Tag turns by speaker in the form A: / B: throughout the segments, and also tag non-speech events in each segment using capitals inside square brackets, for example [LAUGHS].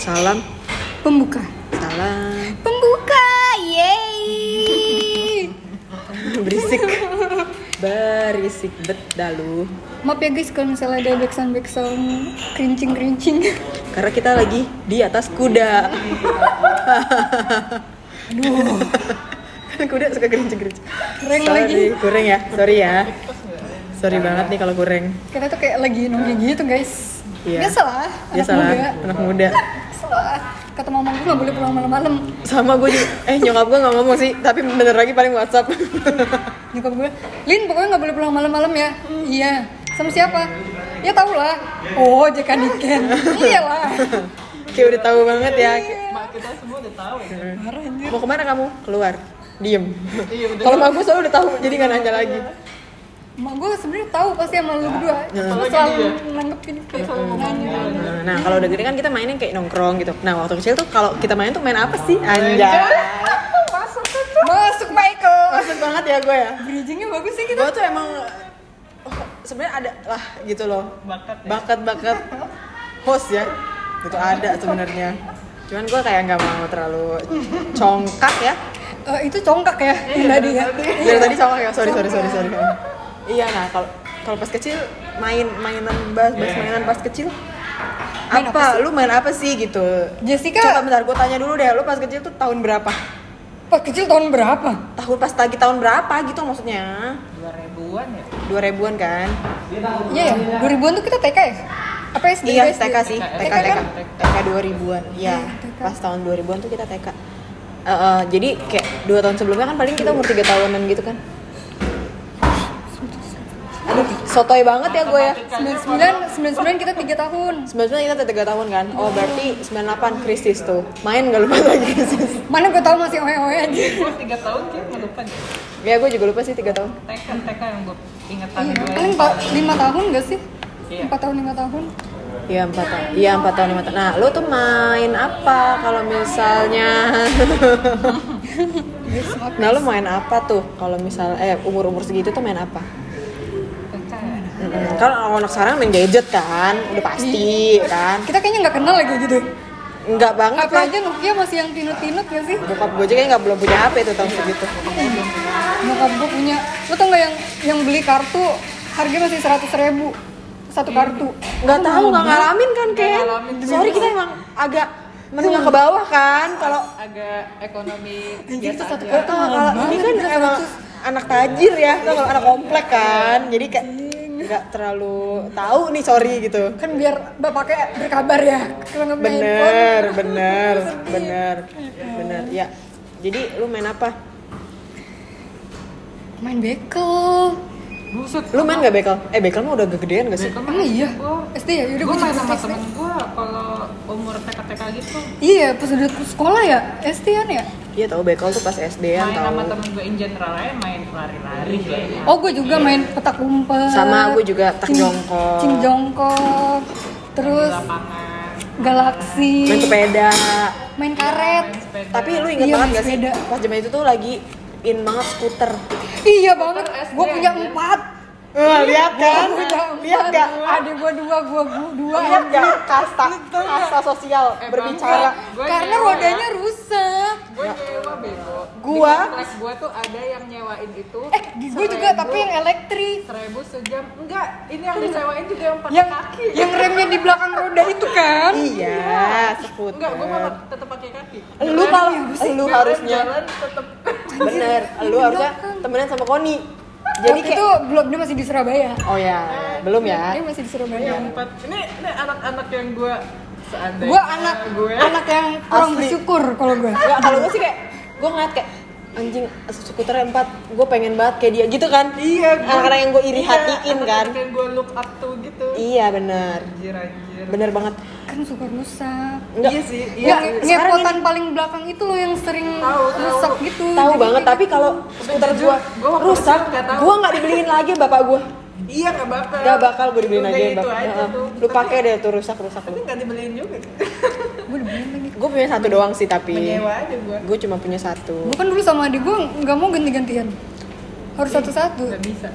A: Salam
B: Pembuka.
A: Salam
B: Pembuka. Yeay.
A: Berisik Berisik bet dah lu
B: [LAUGHS] Maaf ya guys kalau misalnya ada backsound backsound kerincing kerincing.
A: Karena kita lagi di atas kuda
B: Aduh.
A: Kan [LAUGHS] kuda suka gerincing-gerincing
B: Kurang
A: Sorry,
B: lagi.
A: Kurang ya, sorry ya Sorry banget nih kalau kurang
B: Kita tuh kayak lagi nongki gitu guys.
A: Iya.
B: Biasalah.
A: Biasalah,
B: Anak muda.
A: anak muda
B: Biasalah. Kata mama gue nggak boleh pulang malam-malam.
A: Sama gue juga, eh nyokap gue gak ngomong sih Tapi bener lagi paling whatsapp [LAUGHS]
B: Nyokap gue, Lin pokoknya nggak boleh pulang malam-malam ya. Iya. Sama siapa? Ya tau lah. Oh, Jeka Niken.
A: [LAUGHS]
B: Iyalah.
A: Kayak udah tahu banget ya
C: kita semua udah tahu ya.
B: Marah anjir.
A: Mau kemana kamu? Keluar Diem
C: Iya,
A: Kalau mah gue selalu udah tahu, jadi gak nanya lagi
B: Emak gue sebenarnya tahu pasti sama lu berdua.
A: Iya.
B: Cuma
C: Apalagi
B: selalu
C: dia.
B: nanggepin kayak selalu nanya.
A: Nah, kalau udah gede kan kita mainnya kayak nongkrong gitu. Nah, waktu kecil tuh kalau kita main tuh main apa sih?
C: Iya.
A: Anjay.
B: Masuk Masuk Michael.
A: Masuk banget ya gue ya.
B: Bridgingnya bagus sih kita.
A: Gue tuh emang oh, sebenarnya ada lah gitu loh.
C: Bakat ya.
A: Bakat-bakat host ya. Itu ada sebenarnya. Cuman gue kayak nggak mau terlalu congkak ya.
B: Eh, itu congkak ya yang tadi ya.
A: Dari tadi congkak ya. Sorry, sorry, sorry, sorry. Iya, nah kalau kalau pas kecil main mainan bahas bahas mainan pas kecil
B: Main apa
A: apa, lu Iya. main apa sih gitu Coba
B: Jessica
A: bentar, gue tanya dulu deh, lu pas kecil tuh tahun berapa?
B: pas kecil tahun berapa?
A: Tahun pas lagi tahun berapa gitu maksudnya?
C: Dua ribuan ya.
A: 2000-an kan?
B: Iya ya, 2000-an tuh kita TK ya? Apa SD?
A: Iya,
B: SD?
A: TK sih,
C: TK,
A: TK,
B: kan?
A: TK, TK 2000-an, iya pas tahun 2000-an tuh kita TK Eh, eh, Jadi kayak dua tahun sebelumnya kan paling kita umur tiga tahunan gitu kan? Aduh, sotoy banget ya gue ya
B: 99, 99 kita 3 tahun.
A: 99 kita tiga tahun kan? Oh berarti 98 krisis tuh Main gak lupa lagi krisis
B: Mana gue tahu masih oe-oe aja. Iya.
C: Gue tiga tahun sih nggak lupa deh.
A: Ya gue juga lupa sih tiga tahun
C: TK TK yang gue ingetan
B: Iya,
C: gue.
B: paling 5 tahun gak sih?
C: Iya.
B: 4 tahun 5 tahun.
A: Iya empat tahun. Iya empat tahun lima tahun. Nah, lu tuh main apa kalau [LAUGHS] misalnya?
B: Yes, maaf.
A: nah, lu main apa tuh kalau misal eh umur umur segitu tuh main apa?
C: TK.
A: Mm-mm. Kan orang anak sekarang main gadget kan, udah pasti kan.
B: Kita kayaknya nggak kenal lagi gitu.
A: Enggak banget
B: HP
A: lah.
B: aja Nokia masih yang tinut-tinut gak sih?
A: Bokap gue aja kayak nggak belum punya HP tuh tahun segitu.
B: Nyokap gue punya, lo tau gak yang yang beli kartu harga masih 100 ribu satu kartu.
A: Nggak tahu nggak ngalamin kan Ken?
C: ngalamin.
A: Sorry kita emang agak menengah ke bawah kan kalau
C: Agak ekonomi
B: Anjir itu
C: biasa
B: Iya, satu
C: aja.
A: Gak
B: kartu
A: tau,
B: mahal
A: kalau ini
B: banget.
A: kan emang anak tajir ya, tau kalau anak komplek kan, jadi kayak nggak terlalu tahu nih sorry gitu.
B: Kan biar bapaknya berkabar ya. Kalau nggak punya
A: Bener,
B: handphone. [LAUGHS]
A: bener, bener, bener. Ya, jadi lu main apa?
B: Main bekel.
C: Buset.
A: Lu main gak bekel? Eh bekel mah udah gedean gak sih?
B: Emang iya?
C: Gue
B: SD ya? Yaudah gue
C: gue Oh. main sama
B: juga SD.
C: temen gue kalau umur TK TK gitu
B: Iya, pas udah ke sekolah ya? SD an ya?
A: Iya tau bekel tuh pas SD
C: main
A: an
C: sama
A: tau.
C: temen gue in general aja main lari-lari kayak
B: Oh, gue
C: Iya.
B: juga main petak umpet.
A: Sama, gue juga petak
B: Cing-
A: jongkok.
B: Cing jongkok.
C: di
B: Terus
C: lapangan
B: galaksi.
A: Main sepeda.
B: Main karet.
C: main sepeda
A: Tapi lu inget
B: Iya,
A: banget
B: main
A: gak sih?
B: sepeda.
A: Pas zaman itu tuh lagi in banget skuter.
B: Iya banget.
C: SD
B: Gue punya
C: aja.
B: empat.
A: Wah, lihat kan?
B: Gua punya empat.
A: Lihat gak?
B: Ada gue dua, gue dua.
A: Lihat gak? Iya, Kasta, kasta sosial
C: Eh,
A: berbicara.
C: bangga. Gua
B: Karena
C: nyewa ya.
B: rodanya rusak.
C: gue nyewa bego
A: Gua?
C: di kompleks gue tuh ada yang nyewain itu
B: Eh, gue juga tapi yang elektrik.
C: seribu sejam enggak ini yang disewain juga yang Iya, pakai
B: Yang
C: kaki
B: yang remnya di belakang roda itu kan?
A: Iya, skuter.
C: enggak gue mah tetap pakai kaki
A: lu kalau lu
C: Jalan-
A: harusnya
C: jalan tetap
A: bener lu harusnya temenan sama Koni jadi
B: Waktu
A: kayak
B: itu belum dia masih di Surabaya.
A: oh ya belum ya
B: Dia masih di Surabaya.
C: yang empat ini ini anak-anak yang gue seandainya
B: Gue anak
C: gue
B: anak yang kurang
A: Asli.
B: bersyukur kalau gue.
A: Nggak, kalau gue sih kayak gue ngeliat kayak anjing skuternya empat gue pengen banget kayak dia gitu kan
C: iya gua-
A: anak-anak yang gue iri
C: iya,
A: hatiin kan
C: anak-anak yang gue look up to gitu
A: iya bener
C: anjir anjir
A: bener banget
B: Kan suka rusak.
A: Nggak,
C: iya sih iya
B: Yang
A: sekarang
B: ngepotan paling belakang itu loh yang sering
C: Tahu, tahu.
B: rusak gitu.
A: tahu
B: Jadi
A: banget
B: kayak
A: tapi kalau skuter
C: jujur,
A: gue
C: gua waktu
A: rusak
C: kecil nggak tahu.
A: gue nggak dibeliin lagi bapak gue
C: iya gak bakal
A: Gak bakal gue dibeliin
C: Udah
A: lagi
C: itu
B: gitu
A: bapak
C: aja
A: Heeh.
C: tuh
A: lu
C: Tapi-
A: pakai deh tuh rusak rusak
C: tapi
A: lu
C: gak dibeliin juga
B: Gue dibeliin lagi.
A: gue punya satu doang sih tapi
C: menyewa aja gue
A: gue cuma punya satu
B: Gue kan dulu sama adik gue nggak mau ganti-gantian. Harus satu-satu.
C: gak bisa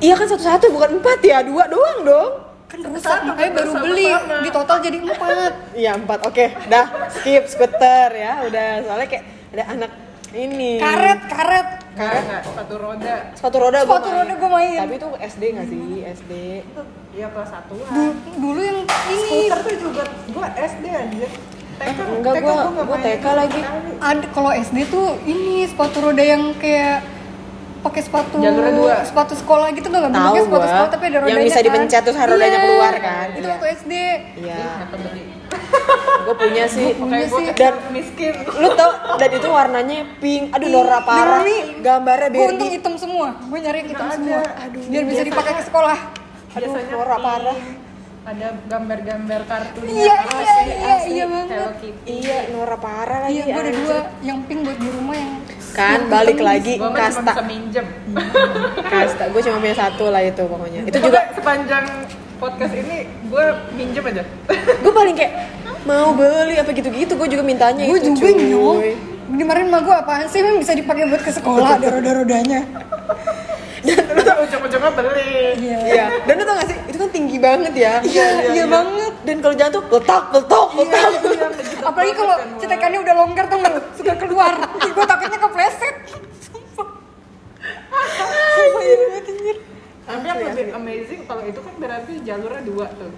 A: Iya kan satu-satu bukan empat ya dua doang dong.
B: kan rusak makanya baru
C: sama-sama.
B: beli di total jadi empat
A: Iya empat, oke, dah skip skuter ya, udah soalnya kayak ada anak ini.
B: karet karet
C: Kayak nggak sepatu roda.
A: Sepatu roda. Iya, gua
B: Sepatu roda gua main.
A: Tapi itu SD nggak sih? SD.
C: Itu ya kelas satuan.
B: Du- dulu yang ini
C: Skuter tuh juga gua SD anjir. TK
A: Enggak,
C: TK
A: gua-
C: nggak
A: gua
C: main
A: TK
C: sama
A: lagi.
C: sekali.
B: ada kalau SD tuh ini sepatu roda yang kayak pakai sepatu
C: Jalurnya dua.
B: sepatu sekolah gitu tuh nggak
A: Tahu
B: bentuknya sepatu
A: gua.
B: sekolah tapi ada
A: Yang
B: rodanya
A: bisa
B: kan.
A: dipencet terus rodanya
B: Iya,
A: keluar kan.
B: itu
A: Iya.
B: waktu SD
A: Iya.
C: Ih, nggak peduli.
A: Gue punya sih.
C: Kayak gua
B: Iya sih.
C: kecil
A: Dan-
C: miskin.
A: Lu tau? Dan itu warnanya pink. Aduh Nora parah.
B: Nori.
A: Gambarnya
B: gue untung
A: Barbie.
B: hitam semua gue nyari yang hitam
C: Nggak
B: semua
C: ada.
B: aduh biar bisa dipakai ke sekolah
A: Aduh
C: Biasanya
A: Nora
C: pink.
A: parah.
C: Ada gambar-gambar kartunya.
B: Iya,
C: Asli,
B: iya, iya,
C: asli.
B: iya banget.
C: Hello Kitty.
A: Iya Nora parah lagi.
B: iya gue ada
A: anjir.
B: dua yang pink buat di rumah yang
A: Kan balik lagi
C: Gua mah cuma
A: kasta.
C: bisa minjem.
A: Kasta. Gue cuma punya satu lah itu pokoknya. Itu
C: juga
A: juga.
C: sepanjang podcast ini gue minjem aja. [LAUGHS]
A: Gue paling kayak mau beli apa gitu-gitu. Gue juga mintanya
B: gue
A: itu.
B: juga
A: cuy.
B: nyong dimarin sama gue apaan sih memang bisa dipakai buat ke sekolah ada roda-rodanya
C: Terus ujung-ujungnya beli.
B: iya
A: Iya. Dan lu tau gak sih? Itu kan tinggi banget ya.
B: iya iya banget Iya.
A: Dan kalau jalan tuh letak, letak, letak.
B: apalagi kalau cetekannya udah longgar tuh nggak suka keluar gue takutnya kepleset Oh, Sumpah. Sumpah, iya banget, anjir.
C: Tapi yang
A: iya,
C: lebih amazing kalau itu kan berarti jalurnya dua tuh.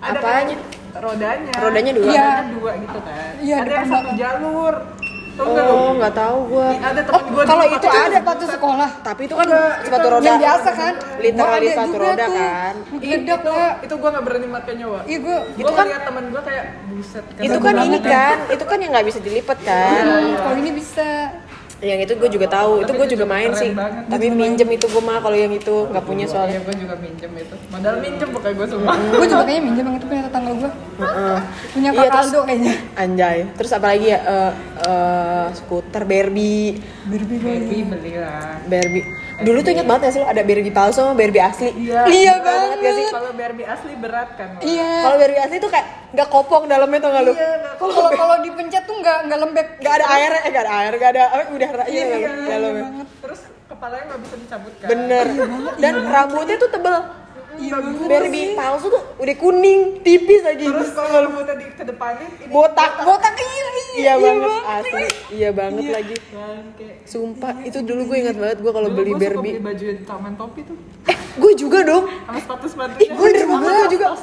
C: kan
A: Apanya?
C: Rodanya.
A: Rodanya dua?
C: Iya.
B: Iya.
C: dua gitu kan.
B: Iya,
C: ada yang
B: depan
C: satu
B: belakang.
C: jalur. Tuh nggak lu?
A: Oh, nggak tahu gua.
C: Ada
B: Oh,
C: teman gue
B: kalau itu ada sepatu sekolah
A: Tapi itu kan
C: Enggak,
A: sepatu
C: itu
A: roda.
B: yang biasa kan Gua
A: Literally
B: ada
A: sepatu
B: juga
A: roda
B: tuh.
A: kan.
B: geledak lah
C: Itu gue nggak berani pakai nyawa.
B: iya gue
C: Gue
A: kan-
C: ngeliat temen gue kayak buset.
A: Itu
C: keren
A: kan ini
C: banget. ya."
A: kan, itu kan yang nggak bisa dilipat kan.
B: kalau ini bisa
A: Yang itu gue juga tahu, itu
C: Tapi
A: gue
C: itu
A: juga
C: juga
A: main
C: keren
A: sih.
C: banget.
A: Tapi minjem itu gue mah kalau yang itu nggak punya
C: Iya,
A: soalnya.
C: gue juga minjem itu. Modal minjem bukan gue semua.
A: Iya.
B: gue juga kayaknya minjem yang itu punya tetangga gue
A: Heeh.
B: punya
A: Iya,
B: kak
A: terus-
B: Aldo kayaknya
A: Anjay. Terus apalagi ya eh, eh, skuter Barbie,
B: Barbie gue
C: Baby belilah.
A: Barbie. Dulu tuh inget banget gak sih lo ada Barbie palsu sama Barbie asli.
B: Iya
C: berat gak sih?
B: banget.
C: Kalau Barbie asli berat kan. Wak?
B: iya
A: Kalau Barbie asli tuh kayak nggak kopong dalamnya tuh nggak lu?
C: Iya, nggak
B: kalau kalau kalau dipencet tuh nggak nggak lembek
A: Nggak ada air, eh nggak ada air, nggak ada apa udah iya nggak
C: Iya,
A: lu- nggak lu-
C: iya banget. Terus kepalanya nggak bisa dicabut kan?
A: Bener. Dan rambutnya tuh tebel.
B: iya banget
A: Barbie palsu tuh udah kuning, tipis lagi.
C: Terus kalau lu tadi ke depannya ini
A: botak.
B: botak iya iya,
A: Iya banget asli.
B: asli
A: Iya banget lagi.
C: bangke.
A: Sumpah, itu dulu gue ingat banget gue kalau
C: Iya, Dulu
A: beli
C: gua suka
A: Barbie.
C: beli baju yang taman topi tuh
A: Eh, gue juga dong.
C: sama sepatu sepatu
A: Ih, gue juga,
C: iya,
A: gue juga. Ih,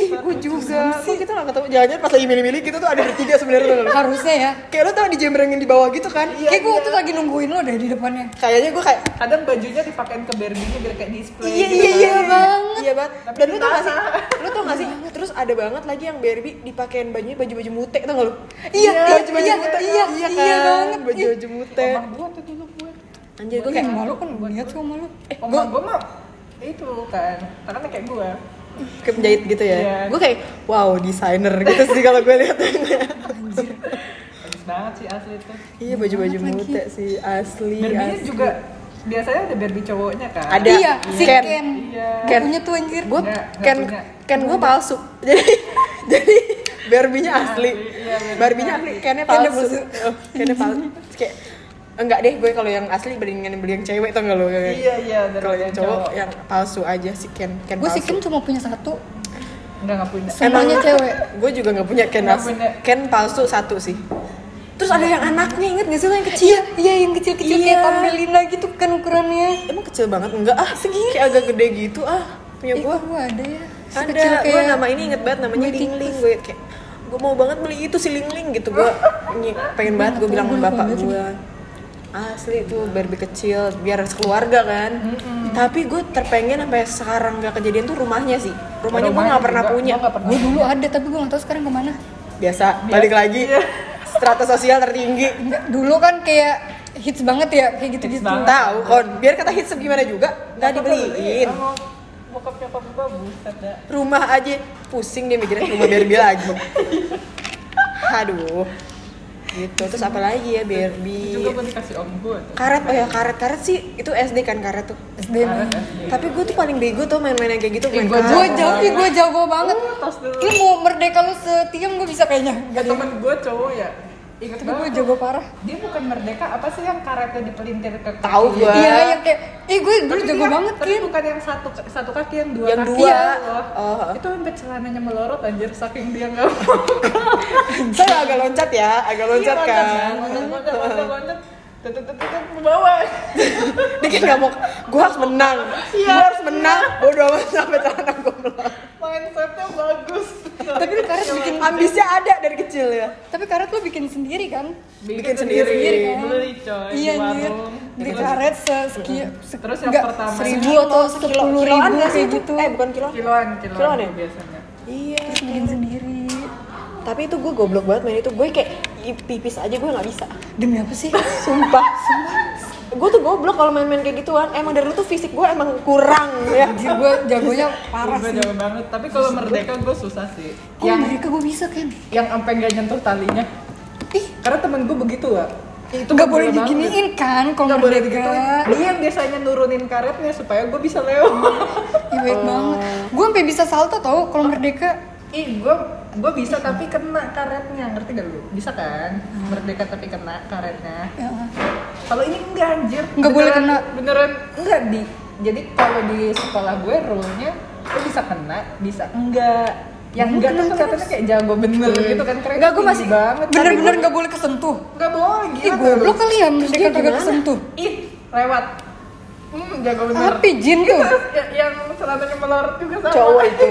C: Ih,
A: gue juga. Kok kita gak ketemu jalannya pas lagi milih-milih gitu tuh ada bertiga sebenarnya tuh. nggak lu?
B: harusnya ya
A: Kayak lo tau dijembrengin di bawah gitu kan?
C: Iya,
B: kayak gue tuh lagi nungguin lo deh di depannya
A: Kayaknya gue kayak
C: Kadang bajunya dipakein ke Barbie-nya biar kayak display.
A: Iya
C: gitu
A: iya iya
C: kan.
A: banget. Iya banget.
C: Tapi Iya.
A: Dan lu tau gak sih?
C: ditahan.
A: Lu tau gak sih? Terus ada banget lagi yang Barbie dipakein bajunya baju-baju mute tau gak lu?
B: Iya, iya,
A: baju-baju
B: iya,
A: mute.
B: iya,
A: iya,
B: iya
A: kan?
B: banget.
A: Baju-baju mute.
C: Omah gua Iya. tuh dulu gue.
A: Anjir gue
B: Ih,
A: kayak
B: malu kan gue lihat sama lu
C: Omah Oh, gua mah itu kan. Karena kayak gua.
A: kayak penjahit gitu ya.
C: Iya.
A: Gue kayak wow, desainer gitu sih kalau gue lihat.
C: Bagus banget sih asli tuh.
A: Iya, baju-baju mute sih asli.
C: Barbie-nya
A: Iya asli.
C: juga biasanya ada Barbie cowoknya kan.
A: Ada.
B: iya si
A: Ken.
B: Ken,
C: Iya.
A: Ken.
B: punya tuh anjir
A: Gue
C: Nggak, nggak
A: kan
C: punya.
A: kan gue palsu. [LAUGHS] Jadi jadi Barbie-nya asli.
C: Iya, Barbie-nya
A: Barbie-nya asli, Ken-nya
B: Ken-nya
A: palsu. Oh, Ken-nya palsu. Terus Kayak enggak deh gue kalau yang asli bandingan beli yang cewek tau gak lo
C: Iya iya. dari
A: kalau yang cowok ya. yang palsu aja si Ken Ken
B: gue si
A: palsu
B: Ken cuma punya satu
C: Enggak enggak punya.
B: semuanya cewek
A: gue juga nggak punya Ken
C: Nggak
A: palsu
C: punya.
A: Ken palsu satu sih terus ada yang anaknya inget gak sih lo yang kecil
B: iya iya yang kecil-kecil
A: Iya.
B: kayak tambelina gitu kan ukurannya
A: emang kecil banget enggak ah segini kayak agak gede gitu ah punya
B: Ih,
A: gue
B: kok Iya, gua ada ya
A: ada
B: Sekecil
A: gue
B: kayak-
A: nama ini inget banget namanya
B: gue
A: Lingling gue kayak gue mau banget beli itu si Lingling gitu gue ny- pengen banget gue bilang sama bapak gue asli itu Barbie kecil biar sekeluarga kan tapi gue terpengen sampai sekarang gak kejadian tuh rumahnya sih rumahnya gue nggak pernah punya
C: Gua nggak pernah.
B: gue dulu ada tapi gue nggak tahu sekarang kemana
A: biasa balik lagi strata sosial tertinggi
B: [LAUGHS] Enggak, dulu kan kayak hits banget ya kayak gitu gitu
C: banget.
A: tahu kon biar kata hits gimana juga nggak dibeliin
C: Oh, Bokap nyokap gua buset dah.
A: rumah aja pusing dia mikirin rumah Barbie lagi aduh gitu terus apa lagi ya
C: Juga
A: Barbie
C: gua dikasih om gua tuh.
A: karet oh ya karet karet sih itu SD kan karet tuh
B: SD
C: Karena kan.
A: tapi gue tuh paling bego tuh main-main yang kayak gitu main
C: gua
B: gue
A: karet
B: jago gue jago banget
C: Oh, tos dulu.
B: lu mau merdeka lu setiam gue bisa kayaknya
C: Ya, temen gue cowok ya Ingat
B: Tapi gue
C: banget.
B: jago parah.
C: Dia bukan merdeka, apa sih yang karetnya dipelintir ke kaki?
A: Tahu gua.
B: Iya, yang kayak, eh gue dulu
C: Tapi
B: jago
C: dia-
B: banget
C: tapi
B: Kin.
C: bukan yang satu satu kaki yang dua
A: Yang
C: kaki
A: dua.
C: ya, loh.
A: Oh.
C: Itu sampai celananya melorot anjir saking dia nggak mau.
A: Saya agak loncat ya, agak loncat
C: Iya,
A: kan.
C: Loncat, loncat, loncat, loncat. Tetep, tetep, tetep, ke bawah.
A: Dia kayak nggak mau, gue harus menang, Gua
C: Iya.
A: harus menang. Bodoh amat sampai celana gue melorot.
C: Mindsetnya bagus.
B: Tapi lu karet bikin,
A: Ambisnya ada dari kecil ya.
B: tapi karet lu bikin sendiri kan?
A: Bikin sendiri.
B: kan?
C: Beli coy
B: Iya
C: Eh, di
B: anjir.
C: warung.
B: Beli karet sekian,
C: Terus yang pertama.
B: seribu atau sepuluh ribu
A: nggak
B: kayak gitu.
A: Eh bukan kilo.
C: Kiloan,
A: Kiloan
C: kiloan
A: ya?
C: biasanya.
A: Iya.
B: Terus bikin sendiri.
A: Tapi itu gue goblok banget main itu. Gue kayak pipis aja gue nggak bisa.
B: Demi apa
C: [LAUGHS]
B: sih?
A: Sumpah. Sumpah. Gue tuh goblok kalau main-main kayak gituan. Emang dari dulu tuh fisik gue emang kurang ya.
B: Anjir gue jagonya parah sih.
C: Gue jauh banget, tapi kalau merdeka gue susah sih.
B: Kok
C: Yang
B: mereka gue bisa kan?
C: yang sampai nggak nyentuh talinya. Ih, karena temen gue begitu lah. Itu
B: Gak
C: gua
B: boleh
C: banget.
B: diginiin kan kalau
C: Nggak boleh
B: merdeka.
C: digituin. Dia yang biasanya nurunin karetnya supaya gue bisa lewat.
B: Ih,
C: Oh.
B: baik banget. Gue sampai bisa salto tau kalau merdeka.
C: Ih, gue gue bisa tapi kena karetnya, ngerti gak lu? Bisa kan? Merdeka tapi kena karetnya.
B: Ya.
C: Kalau ini enggak anjir.
B: Nggak boleh
C: Beneran-
B: kena.
C: Beneran enggak di. Jadi kalau di sekolah gue rule-nya lu bisa kena, bisa enggak. Yang
B: Lu
C: enggak
B: kena
C: tuh katanya
B: terus.
C: kayak jago bener gitu kan keren.
B: Enggak, gue masih
C: banget.
B: bener-bener gak boleh kesentuh.
C: Enggak boleh
B: Ih,
C: gila.
B: gue
C: tuh.
B: lo kali ya merdeka
A: dia
B: kagak
A: gimana?
B: kesentuh.
C: Ih, lewat. Hmm, jago bener.
B: Tapi jin
C: Itu [LAUGHS]
B: tuh.
C: ya- yang celananya melorot juga sama.
A: Cowok itu.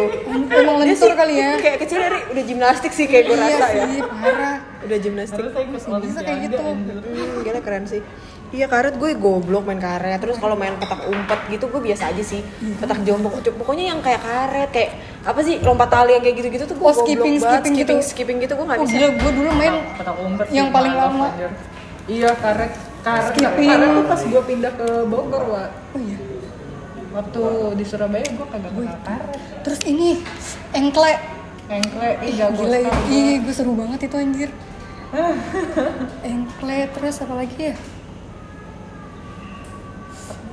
B: Emang lentur kali ya.
A: Kayak kecil dari udah gimnastik sih kayak gue
B: Iya
A: rasa ya.
B: sih, parah.
A: Udah gimnastik.
C: Harusnya ikut
B: Bisa kayak
C: olimpiade,
B: gitu.
C: anjir.
A: Hmm, gila keren sih. Iya karet gue goblok main karet. Terus kalau main petak umpet gitu gue biasa aja sih.
B: Hmm.
A: Petak jongkok Cuk, pokoknya yang kayak karet kayak apa sih lompat tali yang kayak gitu-gitu tuh gue
B: Oh,
A: goblok
B: skipping,
A: banget.
B: skipping gitu.
A: skipping skipping gitu gue nggak
B: Oh
A: bisa.
B: gila, gue dulu main
C: petak umpet
B: yang
C: sih,
B: paling
C: maaf,
B: lama.
C: anjir. iya karet karet
B: Skipping.
C: karet tuh pas gue pindah ke Bogor wa
B: Oh iya.
C: waktu di Surabaya gue kagak kenal karet
B: Terus ini engkle.
C: engkle ih jago
B: Gila,
C: sekali gua.
B: ih gue seru banget itu
C: [LAUGHS]
B: anjir. engkle terus apa lagi ya?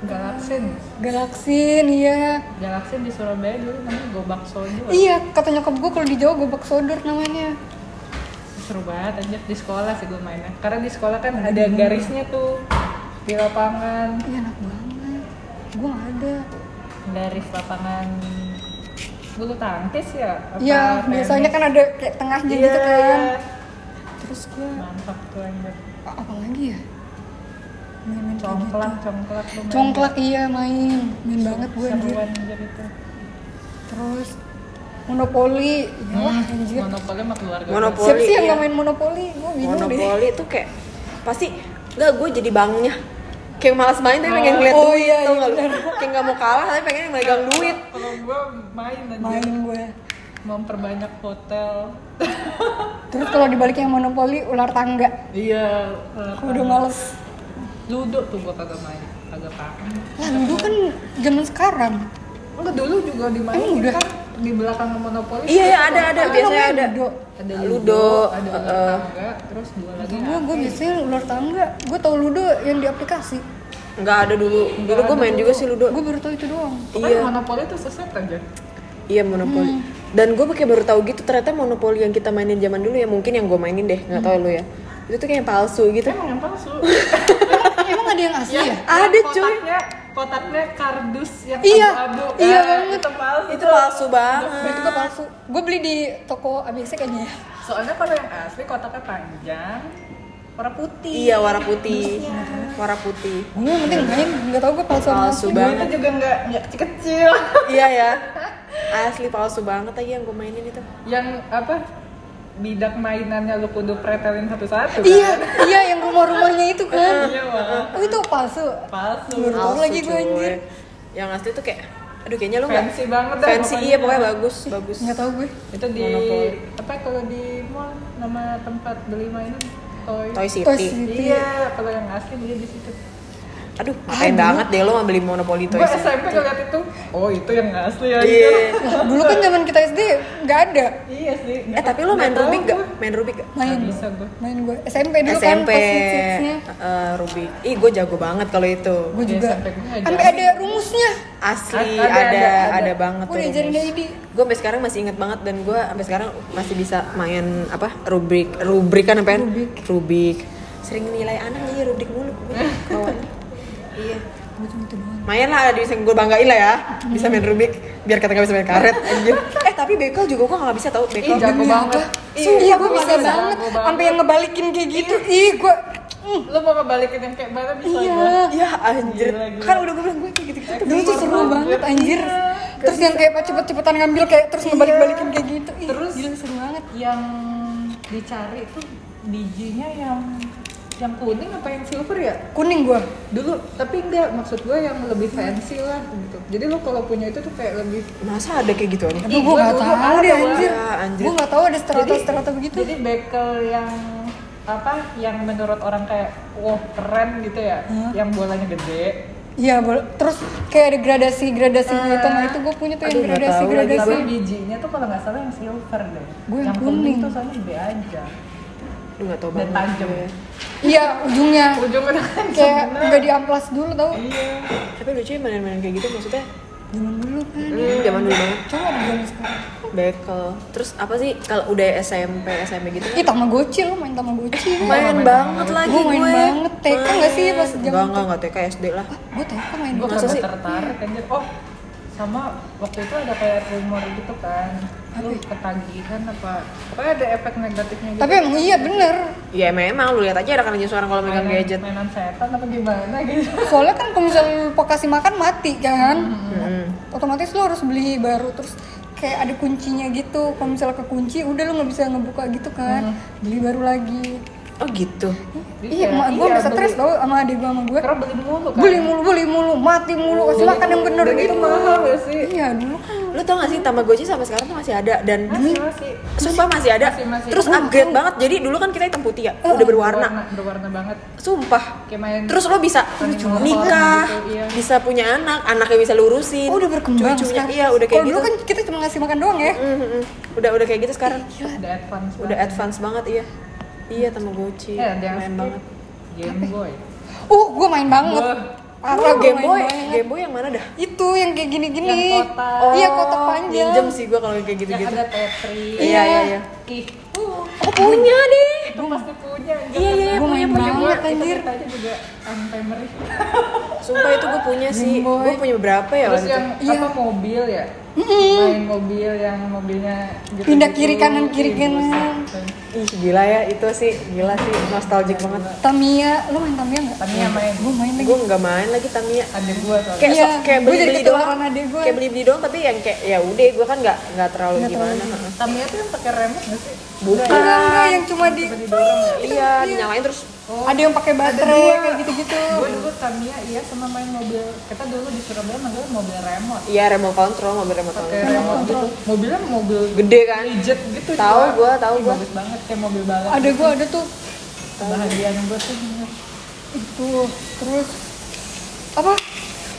C: galaksin
B: Galaksin, iya.
C: galaksin di Surabaya dulu namanya gobak soju Wak.
B: Iya, kata nyokap gue kalau di Jawa gobak sodor namanya.
C: seru banget anjir di sekolah sih gue mainnya karena di sekolah kan ada garisnya tuh di lapangan
B: Iya enak banget. Gue gak ada.
C: garis lapangan bulu tangkis ya Apa
B: Iya,
C: tenis?
B: biasanya kan ada kayak tengahnya
C: Iya,
B: gitu kan.
C: iya.
B: Terus gue
C: mantap tuh anjir
B: A- apa lagi ya main-main kayak gitu.
C: congklak congklak lu main.
B: congklak iya main main banget gue anjir
C: seruan anjir itu
B: terus monopoli ya wah anjir
C: monopoli sama keluarga
A: Monopoli.
B: siapa sih yang
A: Hmm, iya.
B: gak main monopoli gue bingung deh
A: Monopoli tuh kayak pasti nggak gue jadi bangnya. Kayak malas main tapi pengen
C: Oh,
A: ngeliat
B: oh
A: duit tau
B: iya, iya
A: nggak lu?
B: bener. Iya.
A: Kayak nggak mau kalah tapi pengen megang duit.
C: kalau gue main aja
B: main gue
C: memperbanyak hotel
B: terus kalau dibalik yang monopoli ular tangga
C: iya
B: gue udah males
C: ludo tuh gue kagak main kagak paham
B: lah dulu kan zaman sekarang
C: enggak dulu juga dimainin
B: Emang Oh, udah?
C: kan di belakang monopoli
A: Iya ya ada ada
B: Tapi
A: biasanya
B: namanya
A: ada.
B: Ludo.
C: ada
A: Ludo,
C: ludo,
A: eh,
C: ada ular
A: eh.
C: tangga terus dua lagi
B: gue
A: Hmm.
B: gue biasanya ular tangga gue tau ludo yang di aplikasi
A: Nggak ada dulu. Dulu gue main juga sih ludo.
B: gue baru tau itu doang
C: iya. monopoli tuh seset aja
A: Iya monopoli.
B: Hmm.
A: Dan gue pakai baru tahu gitu ternyata monopoli yang kita mainin zaman dulu ya mungkin yang gue mainin deh nggak
B: Hmm.
A: tahu lu ya. Itu tuh kayak yang palsu gitu.
C: emang yang palsu
B: emang ada yang asli ya
A: Ada, cuy.
C: kotaknya kotaknya kardus yang
B: Iya,
C: abu-abu
B: iya
C: Nah,
B: banget.
C: itu palsu
A: Itu palsu banget.
B: itu gue palsu gue beli di toko ABC kayaknya ya
C: soalnya kalau yang asli kotaknya panjang warna putih
A: Iya warna putih. Warna putih.
B: gue yang penting main nggak tau gue palsu apa
A: Palsu
B: asli.
C: Gue
A: banget.
C: itu juga nggak nggak kecil. [LAUGHS]
A: Iya ya. Asli palsu banget lagi yang gue mainin itu.
C: Yang apa? Bidak mainannya lu kudu pretelin satu-satu. kan?
B: iya iya yang rumah-rumahnya itu kan
C: Iya, Wak.
B: oh itu palsu
C: Palsu.
B: Baru tahu lagi gue
A: cuy.
B: anjir
A: Yang asli tuh kayak aduh kayaknya lu nggak
C: Fancy banget dah
A: fancy
C: pokoknya.
A: iya pokoknya bagus bagus.
B: nggak tau gue
C: Itu di
A: Monopoli.
C: apa kalau di mall nama tempat beli mainan toy.
A: Toy
B: Toy
A: City.
B: City.
C: Iya, kalau yang asli dia di situ.
A: Aduh, ngapain
B: Aduh.
A: banget deh lo mau beli Monopoly Toy
C: Gue
A: City.
C: SMP ngeliat itu. Oh, itu yang asli ya.
A: Iya.
B: Lah, dulu kan zaman kita SD nggak ada
C: Iya sih.
A: Eh tapi lo main
C: Nggak tahu
A: Rubik gak?
C: gua.
A: Main Rubik gak?
B: main
C: Nggak bisa gue.
B: main gue SMP dulu kan
A: SMP
B: pas hits-hitsnya
A: eh, Rubik. Ih, gue jago banget kalau itu.
B: gue juga
C: Di SMP gue nggak
B: sampai
C: jadi.
B: ada rumusnya
A: asli
C: Ada,
A: ada ada,
C: ada, ada.
A: banget
B: Gue diajarin
A: rumus.
B: dari Edi.
A: gue sampai sekarang masih inget banget dan gue sampai sekarang masih bisa main apa rubrik rubrik kan apa ya?
B: Rubik.
A: rubrik sering nilai anak jadi rubrik mulu gue, kawan iya
B: Gue cuma itu doang.
A: main lah ada yang gue banggain lah ya bisa main rubik biar kata gak bisa main karet anjir eh tapi bekel juga gue gak bisa tau bekel
C: Ih,
B: Demi
C: jago banget.
B: apa?
A: Iya,
B: Sumpah
A: gua
B: gue bisa
A: nggak bisa.
B: banget.
C: Gua banget.
B: Sampai yang ngebalikin kayak gitu. Ih, gue
C: Lu mau ngebalikin yang kayak mana bisa
B: Iya.
A: ya anjir
C: Gila, gila.
A: kan udah gue bilang gue kayak gitu gitu
B: dulu tuh seru banget anjir.
C: Iya.
B: Terus yang kayak cepet-cepetan ngambil kayak terus ngebalik-balikin kayak gitu. Ih,
C: Terus-
B: gila seru banget.
C: Yang dicari tuh bijinya yang yang kuning apa yang silver ya?
B: Kuning gue.
C: Dulu, tapi enggak maksud gue yang lebih fancy lah gitu. Jadi lu kalau punya itu tuh kayak lebih
A: masa ada kayak gitu, gituan
B: Tapi
C: Ih,
B: gue
C: gua
B: gak
C: dulu
B: tahu
C: ada,
B: deh
C: gua.
B: anjir.
A: Ya, anjir.
B: Gue gak tahu ada
C: Jadi-
B: strata-strata begitu.
C: Jadi bekel yang apa yang menurut orang kayak wow keren gitu ya, yang bolanya gede.
B: Iya, boleh. terus kayak ada gradasi-gradasi gitu. Nah, itu gue punya tuh yang
A: Ah, Aduh, nggak tahu lagi
B: gradasi-gradasi.
C: Tapi bijinya tuh kalau nggak salah yang silver deh.
B: Gua yang
C: yang kuning
B: kuning.
C: tuh soalnya gede aja
A: Aduh gak tau
C: dan
A: banget
C: tajam.
A: gue.
B: Iya, ujungnya
C: Ujungnya tajam.
B: kayak
C: bener.
B: nggak diamplas dulu tau.
C: Iya.
A: tapi lucu ya mainan-mainan kayak gitu maksudnya
B: Zaman dulu kan.
A: hmm, zaman dulu banget
B: Coba di zaman sekarang.
A: bekel terus apa sih kalau udah SMP SMP gitu kan
B: Ih, Tamagotchi lo Iya, main Tamagotchi.
A: main banget lagi
B: Gue main
A: gue.
B: banget. TK nggak sih pas
A: Main.
B: zaman
A: Nggak,
B: itu?
A: nggak, nggak TK SD lah
B: Gue TK main
C: Gue
A: Masa
C: kagak
A: sih?
C: Iya, tertarik anjir. Oh, sama waktu itu ada kayak rumor gitu kan. Lu
A: ya?
C: ketagihan apa? Pokoknya ada efek negatifnya gitu.
B: Tapi emang iya bener.
A: ya memang lu lihat aja anak aja seorang kalau megang
C: Mainan-
A: gadget
C: Mainan setan apa gimana [LAUGHS] gitu.
B: Soalnya kan kalau misalnya lupa kasih makan mati kan.
A: Mm-mm.
B: Otomatis lo harus beli baru terus kayak ada kuncinya gitu. Kalau misalnya kekunci udah lo nggak bisa ngebuka gitu kan.
A: Mm-hmm.
B: Beli baru lagi.
A: oh gitu
B: Iya, emak gue
C: iya,
B: bisa stres
C: beli.
B: tau sama adik gue sama gue.
C: Karena beli mulu kan.
B: Beli mulu, beli mulu, mati mulu, kasih makan yang bener
C: Dan
B: gitu.
C: itu mahal gak sih?
B: Iya, dulu kan
A: lu tau gak sih Tamagotchi sampai sekarang tuh masih ada dan
C: Masih, masih.
A: sumpah masih ada
C: Masih, masih.
A: terus upgrade banget jadi dulu kan kita hitam putih ya udah berwarna
C: Berwarna, berwarna banget.
A: sumpah
C: Kayak main
A: terus lo bisa
C: Lucu banget.
A: nikah
C: Gitu, iya.
A: bisa punya anak anaknya bisa lurusin
B: Oh, udah berkembang
A: cucunya
B: sekarang.
A: iya udah kayak
B: Kalau
A: gitu
B: dulu kan kita cuma ngasih makan doang ya.
A: Mm, mm, mm. udah udah kayak gitu sekarang
C: udah advance
A: udah advance banget iya iya Tamagotchi
C: banget. Eh, ada yang
A: main
C: skip.
A: banget
C: Game
A: ya?
C: Boy.
B: Uh, gue main banget.
C: Wah.
B: Parah
A: Oh,
B: gua
A: Game
B: main
A: Boy
B: banget.
A: Game Boy yang mana dah
B: Itu yang kayak gini-gini.
C: Yang kotak.
B: Iya, kotak panjang.
A: Oh, Pinjem sih gue kalau kayak
C: Yang
A: gitu-gitu.
C: ada Tetris.
A: Iya iya iya.
C: Kih.
A: Aku punya deh.
C: Itu pasti punya. anjir.
A: Iya iya
B: Gua
A: punya
B: main
A: punya
B: banget,
A: gua.
B: anjir.
C: Kita aja juga sampai merih.
A: Sumpah itu gue punya sih.
B: Boy.
A: Gue punya berapa ya
C: Terus
A: waktu
C: yang
A: itu?
B: Iya.
C: apa mobil ya? Main mobil yang mobilnya gitu-gitu. Iya,
B: Pindah kiri kanan, kiri
C: Ih,
B: kanan.
C: buset.
A: Ih gila ya itu sih gila sih nostalgic banget.
B: Tamiya, lo main Tamiya nggak?
C: Tamiya main.
B: Gue main lagi.
A: Gue nggak main lagi Tamiya.
C: Ada gua soalnya.
A: Kayak
B: Iya,
A: so- kayak
B: gua
A: beli
B: jadi
A: beli doang.
B: ketularan adik gua.
A: Kayak beli beli doang tapi yang kayak ya udah gue kan nggak nggak terlalu
B: Nggak terlalu Iya.
A: gimana. Heeh.
C: Tamiya tuh yang pakai remote nggak sih?
A: Bukan.
B: Enggak, enggak, yang cuma di Oh.
C: Cuma didorong ya?
A: Iya dinyalain terus.
B: ada yang pakai baterai kayak gitu-gitu.
C: Gue dulu Tamiya iya sama main mobil. Kita dulu di Surabaya manggilnya mobil remote.
A: Iya remote control mobil remote
C: Pakai
A: control.
C: remote gitu. Mobilnya mobil
A: Gede kan?
C: gadget gitu.
A: Tahu
C: juga.
A: gua, tahu
C: Ih,
A: gua.
C: Bagus banget kayak mobil balap.
B: Ada gue ada tuh
C: Kebahagiaan gua tuh bener.
B: itu terus apa?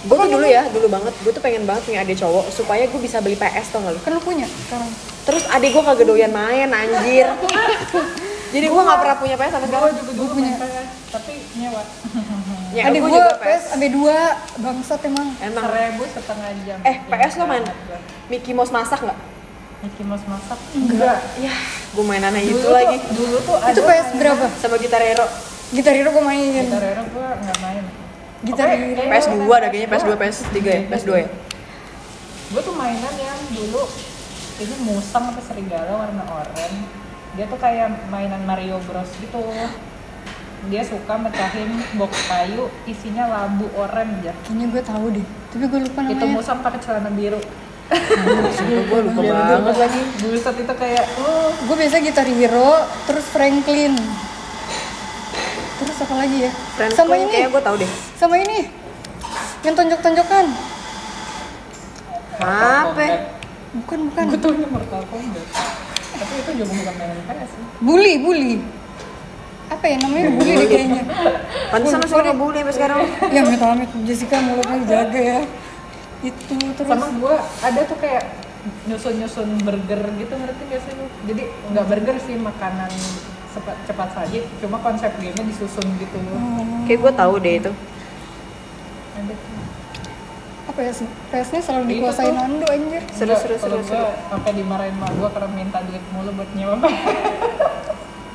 A: Gue tuh dulu ya dulu banget gue tuh pengen banget punya adik cowok supaya gue bisa beli PS tau gak lu?
B: Kan lo punya sekarang.
A: Terus adik gue kagak doyan main anjir. Jadi gue gak pernah punya PS sampai
C: Gua
A: sekarang.
C: juga dulu main PS, tapi nyewa.
A: Ya,
B: ada
A: gua
B: gue PS AB 2 bangsat emang.
A: Emang.
C: Seribu setengah jam.
A: Nah. Eh, PS lo main?
C: Ingat gua.
A: Mickey Mouse masak nggak?
C: Mickey Mouse masak? Enggak.
A: Ya, gue mainannya itu Gitu
C: tuh-
A: lagi.
C: dulu tuh ada kan,
B: Itu PS berapa?
A: Sama gitar hero.
B: Gitar Hero gue mainin.
C: Gitar Hero gua nggak main.
B: Gitar
C: Oke,
B: Hero.
C: kayaknya
A: PS2
C: gua
A: ada kayaknya PS2, PS3 ya, PS2 ya.
C: Gua tuh mainan yang dulu ini musang apa serigala warna oranye. Dia tuh kayak mainan Mario Bros gitu. Dia suka mecahin box kayu isinya labu oranye ya.
B: Kayaknya gue tahu deh, tapi gue lupa
C: Itu
B: namanya.
C: musang pakai celana biru.
A: Gue lupa
C: Biru
A: banget
C: doang.
A: lagi.
C: Buset itu kayak oh,
B: Gue biasa Gitar Hero, terus Franklin. Terus apa lagi ya?
A: Friends
B: sama
A: Call
B: ini,
A: kayaknya gue tau deh.
B: sama ini. Yang tonjok-tonjokan.
A: Apa?
C: Kombat.
B: Bukan, bukan.
C: Gue taunya Mortal Kombat. Tapi itu juga bukan mainan PS sih.
B: Bully, bully. Apa ya namanya? Bully deh kayaknya.
A: Pantes sama suka ngebully sampai sekarang.
B: ya amit amit Jessica mulutnya dijaga ya. Itu terus.
C: sama gue ada tuh kayak nyusun-nyusun burger gitu ngerti gak sih lu? Jadi nggak burger sih makanan cepat cepat saji, cuma konsep gamenya
A: Hmm.
C: disusun gitu.
A: Kayak gue tau deh itu.
C: Ada tuh.
B: apa ya PS-nya selalu
C: Itu
B: dikuasain
C: Iya, tuh-
B: Nando anjir
A: Seru,
C: Nggak,
A: seru,
C: kalau
A: seru,
C: gua sampai dimarahin mak gue karena minta duit mulu buat nyewa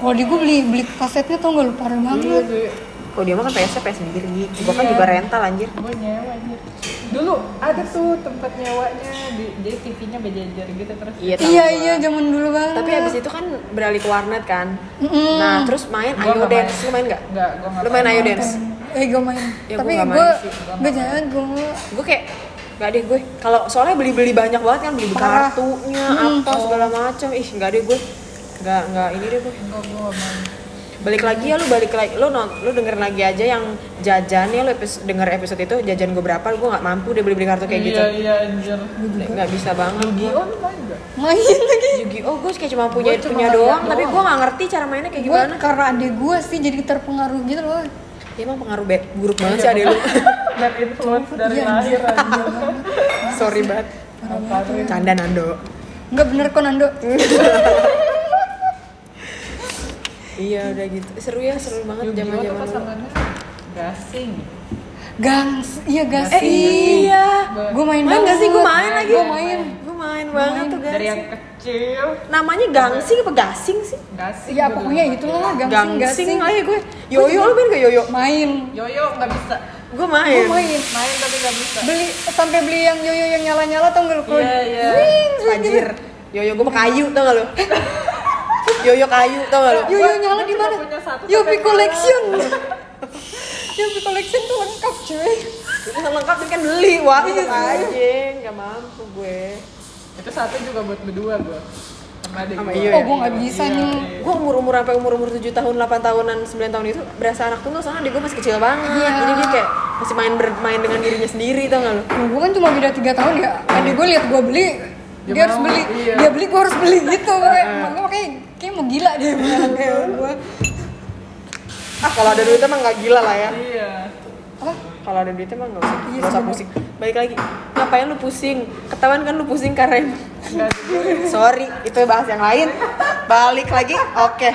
B: kalau di gue beli beli kasetnya tau gak lu parah
C: Iya,
B: banget
C: duit
A: Kalau dia mah kan PS-nya PS sendiri, Gi. Gua kan
C: Iya.
A: juga rental anjir.
C: gue nyewa anjir dulu ada tuh tempat nyewanya di, jadi TV-nya berjajar gitu terus
A: Iya, tahu
B: iya
A: gua.
B: iya zaman dulu banget
A: Tapi habis itu kan beralih ke warnet kan.
B: Mm-mm.
A: Nah, terus main
C: Hmm. Gua
A: Ayo
C: nggak main.
A: Dance. Lu main nggak?
C: nggak gue nggak
A: Lu main
C: tahu.
A: Ayo Dance.
B: eh gue main
A: Ya,
B: tapi
A: gua nggak
B: gue
A: main sih,
C: gua
B: gue
C: nggak
B: jangan gue
A: Gue kayak nggak deh gue. Kalau soalnya beli-beli banyak banget kan beli
B: Parah.
A: kartunya
C: Hmm. Oh.
A: apa segala macam. Ih, nggak deh gue. Nggak nggak ini deh gue.
C: Nggak, gua nggak main
A: Balik lagi ya lu balik lagi. Lu non, lu denger lagi aja yang jajan ya lu epis- denger episode itu jajan gue berapa? Gue nggak mampu deh beli-beli kartu kayak gitu.
C: iya iya anjir
A: Nggak bisa banget.
C: Rugi, oh lu main nggak?
A: Iya,
B: main lagi
A: Yu-Gi-Oh gue kayak cuma punya
C: Gua cuma
A: punya
C: ngeliat
A: doang,
C: doang.
A: tapi gue nggak ngerti cara mainnya kayak
B: gue
A: gimana.
B: karena adik gue sih jadi terpengaruh gitu loh
A: Ya emang pengaruh be- buruk banget sih adek lu.
C: Bad influence dari
B: Iya,
C: lahir anjir
A: [LAUGHS] Sorry banget.
C: Apaan?
A: Canda Nando.
B: nggak bener kok Nando
A: Iya udah gitu. Seru ya, seru banget zaman
C: Yu-Gi-Oh tuh
A: zaman dulu.
C: pasangannya gasing
B: gangs iya gak
A: Eh
B: sih
A: iya.
B: gue main
A: Main gak sih? Gue main lagi.
B: gue main
A: Gue main banget tuh
C: dari yang
A: guys.
C: kecil
A: Namanya gangsing apa gasing sih?
C: gasing
B: ya
C: gua
B: pokoknya
C: dulu.
B: itu lah gangsing
A: Gangsing
B: gangsing
A: lah ya gue. Yoyo lu main gak yoyo?
B: main
C: yoyo nggak bisa
A: Gue
B: gue
A: main.
B: main
C: main tapi nggak bisa
B: beli sampai beli yang yoyo yang nyala nyala tau gak lu kalau
C: Iya, iya.
B: Wing, wing, gitu.
A: Fajir. Yoyo gue mah kayu tau gak lu? Yoyo kayu tau gak lu?
B: yoyo
C: Gua-
B: nyala
C: gua
B: di
C: cuma
B: mana
C: punya satu
B: Yopi
C: sampai
B: collection Yopi collection tuh lengkap cuy
A: Itu lengkap tapi kan beli wah. Tetep aja nggak mampu gue.
C: itu satu juga buat berdua gua sama adik
A: Sama
C: gua.
A: Iyo
B: oh
A: ya?
B: gue nggak bisa
C: Iya,
B: nih
C: iya.
A: gue umur umur sampai umur umur ya, tujuh tahun 8 tahunan 9 tahun itu berasa anak tunggal soalnya dia gue masih kecil banget
B: Iya.
A: jadi dia kayak masih main bermain dengan dirinya sendiri tau gak lo
B: Nah, gue kan cuma beda tiga tahun ya. Adik gue lihat gue beli, dia,
A: Ya,
C: Dia
B: harus
C: mau,
B: beli,
C: iya.
B: dia beli gue harus
A: [LAUGHS]
B: beli gitu. Kayak
A: Eh.
B: gue kayak kayak mau gila deh kayak gue.
A: ah kalau ada duit emang nggak gila lah ya
C: iya
B: Apa?
A: kalau ada duit emang nggak usah
B: Iya,
A: nggak usah
B: sebenernya.
A: pusing balik lagi ngapain lu pusing ketahuan kan lu pusing
B: [LAUGHS]
A: karena
C: nggak ada
A: sorry itu bahas yang lain balik lagi oke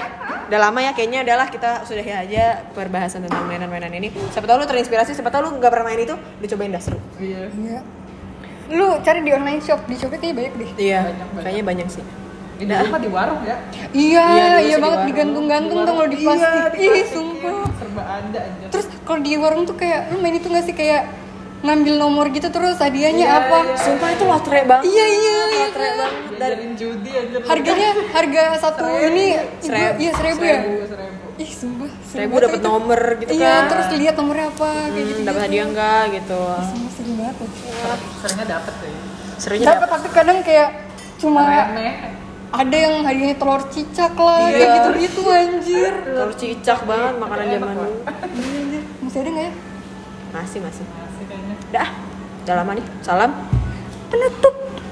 A: udah lama ya kayaknya udahlah kita sudahi aja perbahasan tentang mainan-mainan ini siapa tau lu terinspirasi siapa tau lu nggak pernah main itu lu cobain dah seru
C: iya
B: Iya. Lu cari di online shop, di Shopee kayaknya banyak deh.
A: iya
C: Banyak, banyak.
A: kayaknya banyak sih
C: Ini dulu mah di warung ya.
B: Iya,
A: Iya,
B: iya,
A: dulu sih di
B: banget
A: warung. Iya,
B: digantung-gantung tuh kalau di plastik. Ih, sumpah.
C: Serba ada anjir.
B: Terus kalau di warung tuh kayak lu main itu gak sih kayak ngambil nomor gitu terus hadiahnya
A: Iya,
B: apa?
A: sumpah itu lotre banget
B: Iya, iya, iya.
A: lotre banget dari
C: Jajarin judi anjir.
B: Harganya harga satu ini
A: Seribu.
B: iya seribu ya.
C: Seribu, seribu.
B: Ih, sumpah.
A: Seribu
B: banget
A: dapat
B: itu.
A: nomor gitu
B: iya,
A: kan.
B: terus lihat nomornya apa kayak gitu.
A: Hmm, dapat hadiah enggak gitu.
B: Sama seru banget. loh.
C: Seringnya dapet sih.
A: Serunya
B: Dapat
A: dapat.
B: tapi kadang kayak cuma
A: Iya.
C: Remeh.
B: ada yang hadiahnya telur cicak lah kayak
A: Iya.
B: gitu-gitu anjir.
A: Telur cicak banget makanan
B: Iya,
A: zaman dulu. Iya.
B: Masih ada nggak ya?
A: Masih masih.
C: Masih kayaknya.
A: Dah. Udah lama nih. Salam.
B: Penutup.